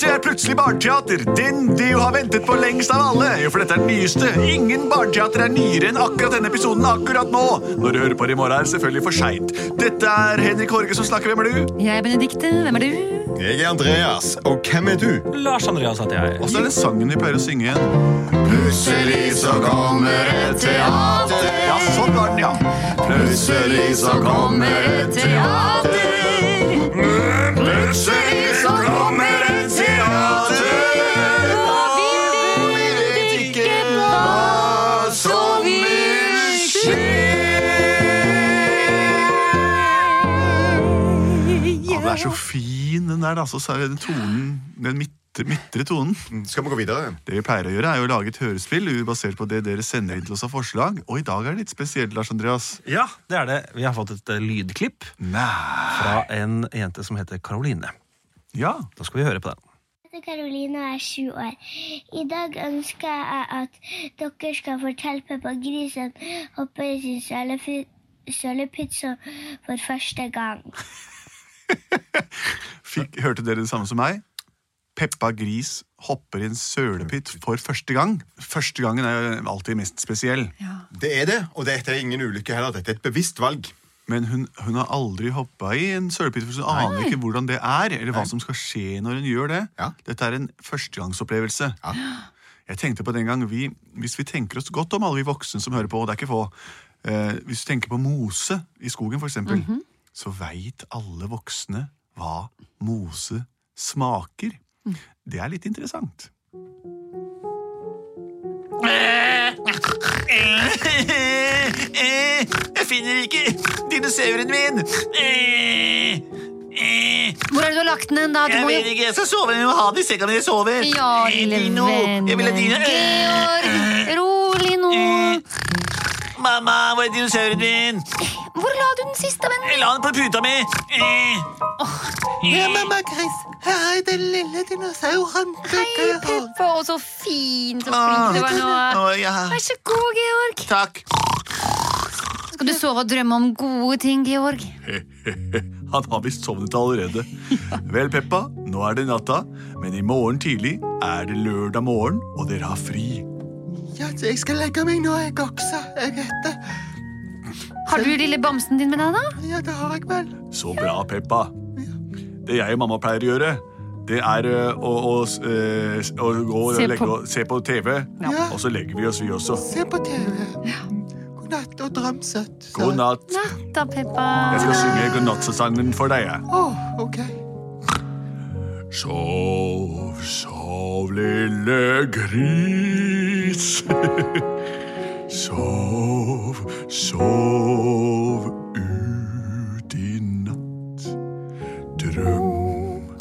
Det er plutselig barneteater. Den du har ventet på lengst av alle. Jo, for dette er den nyeste. Ingen barneteater er nyere enn akkurat denne episoden akkurat nå. Når du hører på det i morgen, er det selvfølgelig for seint. Dette er Henrik Horge som snakker. Hvem er du? Jeg er Benedikte. Hvem er du? Jeg er Andreas, og hvem er du? Lars Andreas heter jeg. Og så er det sangen vi pleier å synge igjen. Plutselig så kommer et teater. Ja, sånn var den, ja. Plutselig så kommer et teater. Plutselig så kommer et teater. Og vi vet ikke hva som vil Ja, den er så fin, den der. Altså, så er det den tonen, den midtre, midtre tonen. Skal vi gå videre? Det vi pleier å gjøre, er jo å lage et hørespill basert på det dere sender inn til oss av forslag. Og i dag er det litt spesielt, Lars Andreas. Ja, det er det. Vi har fått et eh, lydklipp Nei. fra en jente som heter Karoline. Ja. Da skal vi høre på den. heter Karoline og er sju år. I dag ønsker jeg at dere skal fortelle Peppa Grisen hopper i sin sølefi- sølepizza for første gang. Fikk, hørte dere det samme som meg? Peppa Gris hopper i en sølepytt for første gang. Første gangen er jo alltid mest spesiell. Det er det, og dette er ingen ulykke heller. Dette er et bevisst valg. Men hun, hun har aldri hoppa i en sølepytt, for hun aner ikke hvordan det er. Eller hva som skal skje når hun gjør det. Ja. Dette er en førstegangsopplevelse. Ja. Jeg tenkte på den gang vi, Hvis vi tenker oss godt om alle vi voksne som hører på, og det er ikke få eh, Hvis du tenker på mose i skogen, for eksempel, Mhm. så veit alle voksne hva mose smaker. Mm. Det er litt interessant. Jeg finner ikke dinosauren min! Hvor er det du har lagt den hen, da? Du må jo ikke, jeg skal sove. Jeg må ha den i senga mi. Jeg sover. Ja, lille venn. Georg, rolig nå. Eh. Mamma, hvor er dinosauren min? Hvor la du den siste, venn? La den på puta mi! Ja, mamma Gris, her er den lille dinosauren. Hei, Peppa. Å, så fint Ah. og flink du var Ah. nå. Vær så god, Georg. Takk. Skal du sove og drømme om gode ting, Georg? Han har visst sovnet allerede. Vel, Peppa, nå er det natta, men i morgen tidlig er det lørdag morgen, og dere har fri. Ja, så jeg skal legge meg nå, jeg også. Jeg vet det. Har du lille bamsen din med deg, da? Ja, det har jeg vel. Så bra, Peppa. Det jeg og mamma pleier å gjøre, det er ø, å, å, s- ø, s- å gå og Se legge, på- og- se på TV, Ja. og så legger vi oss, vi også. Se på TV. God natt og drøm søtt. sa God jeg. natt. Natt da, Peppa. Jeg skal synge godnattsesangen for deg. jeg. Å, ok. Sov, sov, lille gris. sov, sov ut i natt. Drøm,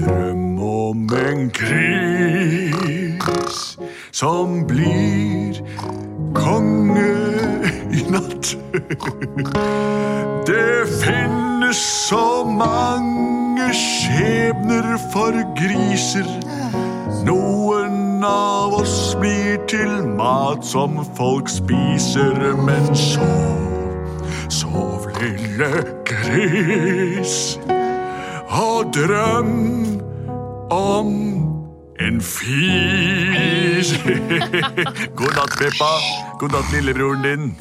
drøm om en gris som blir konge i natt. Det finnes så mange skjebner for griser. Noen av oss blir til mat som folk spiser, men sov, sov, lille gris, og drøm om en fis. God natt, Peppa. God natt, lillebroren din.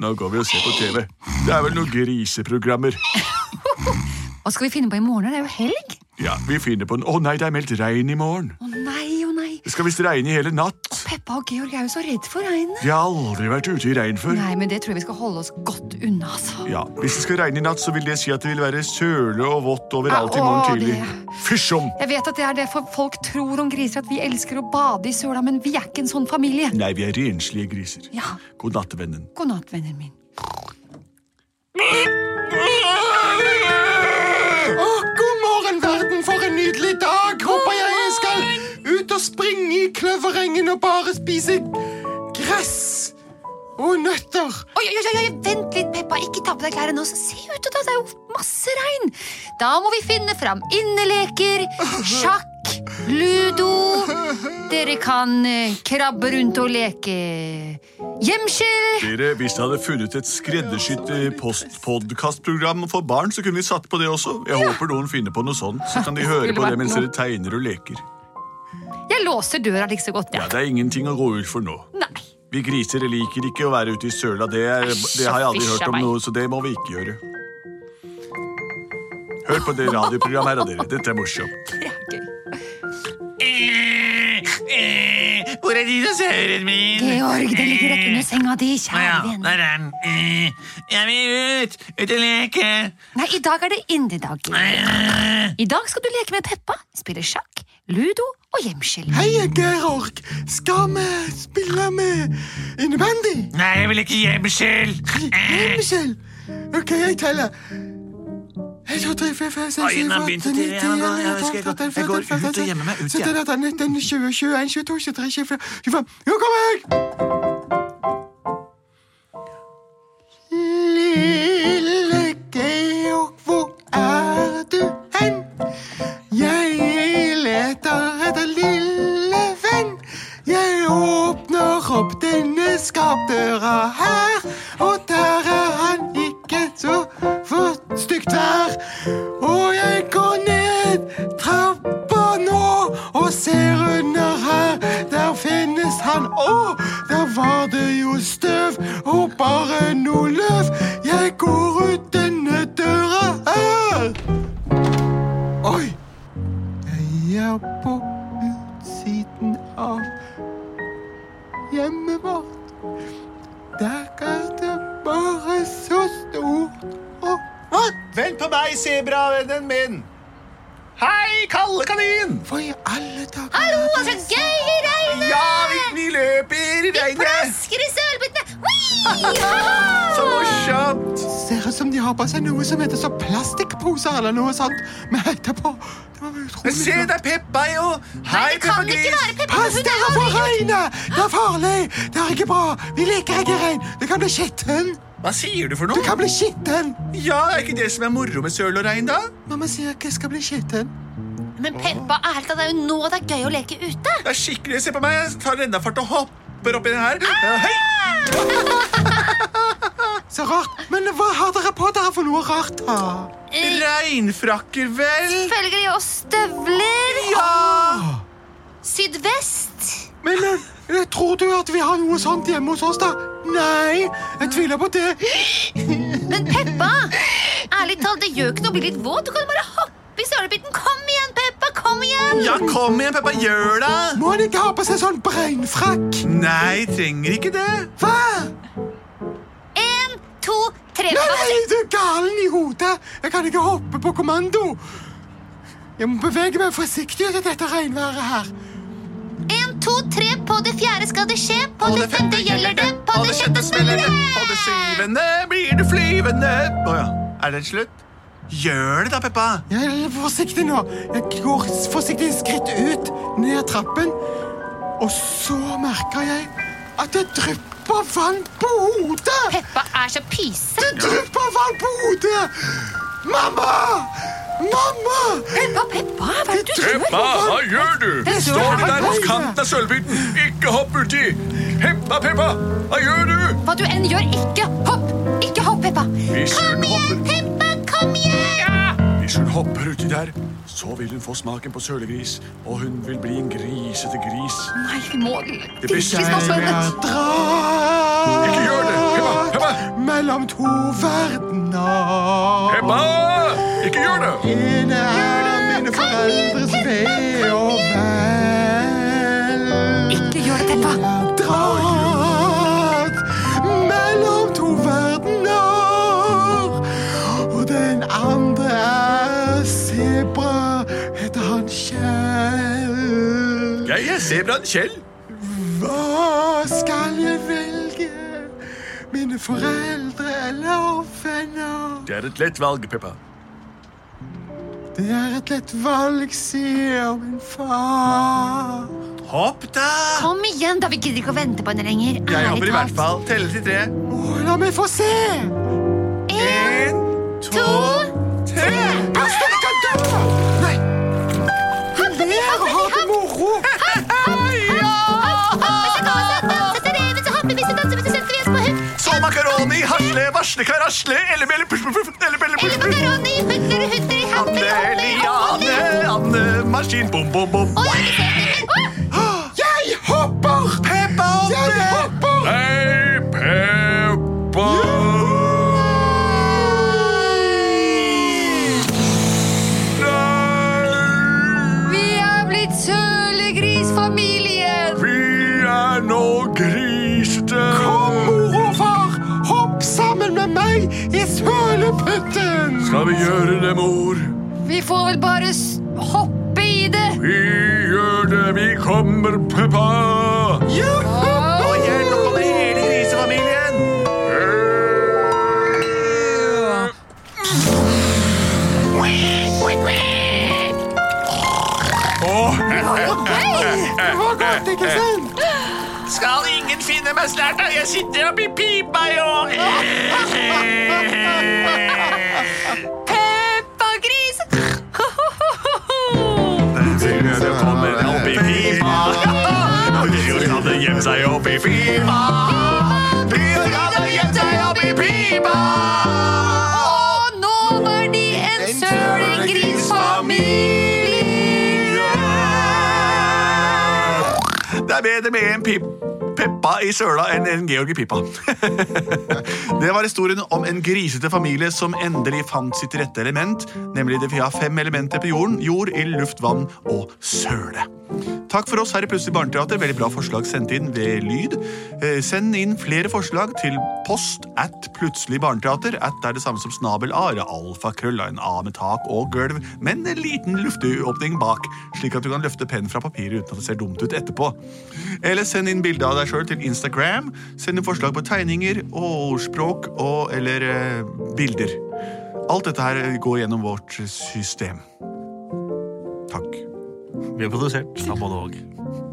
Nå går vi og ser på TV. Det er vel noen griseprogrammer. Hva skal vi finne på i morgen? Det er jo helg. Ja, Vi finner på en Å nei, det er meldt regn i morgen. Å nei, å nei. Det skal visst regne i hele natt. Peppa og Georg er jo så redd for regnet. De har aldri vært ute i regn før. Nei, men det tror jeg vi skal holde oss godt unna, altså. Ja, Hvis det skal regne i natt, så vil det si at det vil være søle og vått overalt i morgen Å, tidlig. det- Fysj om! Jeg vet at det er det for folk tror om griser, at vi elsker å bade i søla, men vi er ikke en sånn familie. Nei, vi er renslige griser. Ja. God natt, vennen. God natt, vennen min. Å, god morgen, verden, for en nydelig dag. Håper jeg jeg skal ut og springe i kløverengen og bare spise gress og nøtter. Oi, oi, oi, oi, vent litt, Peppa. Ikke ta på deg klærne nå. så Se ut, da. Det er jo masse regn. Da må vi finne fram inneleker, sjakk, Ludo. Dere kan eh, krabbe rundt og leke gjemsel. Dere, Hvis jeg hadde funnet et skreddersydd eh, postpodkastprogram for barn, så kunne vi satt på det også. Jeg håper noen finner på noe sånt, så kan de høre skulle på vært det mens noe. dere tegner og leker. Jeg låser døra like så godt, Ja, jeg. Det er ingenting å gå ut for nå. Nei. Vi griser liker ikke å være ute i søla, det, er, det har jeg aldri hørt om noe, så det må vi ikke gjøre. Hør på det radioprogrammet her, da, dere. Dette er morsomt. Det er gøy. Hvor er dinosauren min? Georg, det ligger rett Eh. under senga di, Å ja, kjære venn. der er den. Eh, Jeg vil ut! Ut og leke! Nei, i dag er det innedag. Eh. I dag skal du leke med Peppa, spille sjakk, ludo og gjemsel. Hei, jeg er Georg. Skal vi spille med innebandy? Nei, jeg vil ikke gjemsel! Hei, Michelle. OK, jeg teller. 1, 2, 3, 4, 5, 6, 7, 8, 9, 10, 11, 12, 13, 14, 15, 16, 17, 18, 19, 20, 21, 22, 23, 24, 25, 26, 27, 28, 29, 30, 31, 32, 33, 34, 35, 36, 37, 38, 39, 40, 41, 42, 43, 44, 45, 46, 47, 48, 49, 50, 51, 52, 53, 54, 55, 56, 57, 58, 59, 60, 61, 62, 63, 64, 65, 66, 67, 68, 69, 70, 71, 72, 73, 74, 75, 76, 77, 78, 79, 80, 81, 82, 83, 84, 85, 86, 87, 88, 89, 90, 91, 92, 93, 94, 95, 96, 97, 98, 99, 100, 101, 102, 103, 104, 105, 106, 107, 108, 109, 110, 111, 112, 113, 114, 115, 116, 117, 118, 119, 120, 121, 122, 123, 124, to, 23, 24, 25 Nå kommer jeg! Lille Georg, hvor er du hen? Jeg leter etter lille venn. Jeg åpner opp denne skapdøra her, og der er han ikke så for stygt vær. Og jeg går ned trappa nå og ser under her. Der finnes han. Å, der var det jo støv og bare noe løv. Jeg går ut denne døra her. Oi! Jeg er på utsiden av hjemmet vårt. Der er det bare så stort og Hva? Vent på meg, sebravennen min! Hei, kalde kanin! Hva i alle dager? Hallo, så gøy i regnet! Ja, vi, vi løper i regnet! Plasker i sølbitene! Whee! Ja! Så morsomt! Ser ut som de har på seg noe som heter så plastikkposer eller noe sånt. Men etterpå Det var utrolig Men se, flott. det er Peppa jo! Hei, Nei, det Peppa kan ikke være Gris! Peppa. Pass Hun er dere for avhengig. regnet! Det er farlig! Det er ikke bra! Vi liker ikke regn! Du kan bli skitten! Hva sier du for Du noe? kan bli skitten! Ja, er ikke det som er moro med søl og regn, da? Mamma sier ikke jeg skal bli skitten. Men Peppa, ærlig talt, det er jo nå det er gøy å leke ute. Det er skikkelig, se på meg, jeg tar rennafart og hopper oppi den her. Hei! Så rart. Men hva har dere på dere for noe rart? da? Eh, Regnfrakker, vel? Følgelig og støvler. Ja! Sydvest. Men eh, jeg tror du at vi har noe sånt hjemme hos oss, da? Nei, jeg tviler på det. Men Peppa, ærlig talt, det gjør ikke noe å bli litt våt. Du kan bare hoppe i sølepytten. Kom igjen, Peppa, kom igjen! Ja, kom igjen, Peppa, gjør det! Må han ikke ha på seg sånn breinfrakk? Nei, trenger ikke det. Hva? En, to, tre. Nei, Peppa. nei, du er galen i hodet! Jeg kan ikke hoppe på kommando! Jeg må bevege meg forsiktig ut i dette regnværet her. En, to, tre, på det fjerde skal det skje. På det femte gjelder det, på det sjette smeller det. På det syvende blir du flyvende. Å ja. Er det slutt? Gjør det da, Peppa. Jeg er forsiktig nå. Jeg går s- forsiktig skritt ut ned trappen. Og så merker jeg at det drypper vann på hodet! Peppa er så pyse. Det drypper vann på hodet! Mamma! Mamma! Peppa, Peppa, hva er det du gjør? Peppa, hva gjør du? Står du der hos kanten av sølvbiten? Ikke hopp uti! Peppa, Peppa, hva gjør du? Hva du enn gjør, ikke hopp! Ikke hopp, Peppa. Hvis hun hopper, Peppa, kom igjen! hvis hun hopper uti der, så vil hun få smaken på sølegris, og hun vil bli en grisete gris. Nei, vi må Det blir virkelig snakke om det. Ikke gjør det! Peppa, Dratt Peppa, mellom to verdener. Peppa! Ikke gjør det! Inn er mine foreldres ve og vel. Ikke gjør det, Peppa. Dratt mellom to verdener. Og den andre er sebra, heter han Kjell. Jeg er sebraen Kjell. Hva skal jeg velge? Mine foreldre eller venner? Det er et lett valg, Peppa. Det er et lett valg, sier min far. Hopp, da. Kom igjen, da. Vi gidder ikke å vente på henne lenger. Jeg Ærlig hopper i hvert talt. fall. Telle til tre. Åh, la meg få se! En, to, tre. Pass dere, kan dø! Nei! Hun ler og har på Aslekar Asle, Ellebelle puff, puff, puff, Ellebelle puff, Eller puff. makaroni, butler, hutter, hamper, holder, Anne, Anne, maskin, bom, bom, bom. Ah, Jeg hopper! Peppa Jeg Anne! hopper! Hei, Peppa! Vi er blitt sølegrisfamilien! Vi er nå grisete. Kom, mor og far, hopp sammen med meg i søleputten! Skal vi gjøre det, mor? Vi får vel bare s- hoppe i det. Vi gjør det. Vi kommer, Peppa. Å, Nå kommer hele grisefamilien. Det var godt, ikke sant? Skal ingen finne meg snart, da? Jeg sitter oppi pipa i år. Peppa Gris! Det kommer oppi pipa. Og Gud hadde sånn gjemt seg oppi pipa. Gud hadde sånn gjemt seg oppi pipa. Og nå var de en sølegrisfamilie! Det er bedre med en pip Peppa i søla enn en Georg i pipa. Det var historien om en grisete familie som endelig fant sitt rette element, nemlig det vi har fem elementer på jorden, jord, ild, luft, vann og søle. Takk for oss her i Plutselig barneteater. Veldig bra forslag sendt inn ved lyd. Eh, Send inn flere forslag til post at plutselig barneteater. At er det samme som snabel a, eller alfakrøll, en a med tak og gulv, men en liten lufteåpning bak, slik at du kan løfte pennen fra papiret uten at det ser dumt ut etterpå. Eller send inn bilde av deg sjøl til Instagram. Send inn forslag på tegninger og ordspråk og eller eh, bilder. Alt dette her går gjennom vårt system. Takk. Vi er produsert av både og.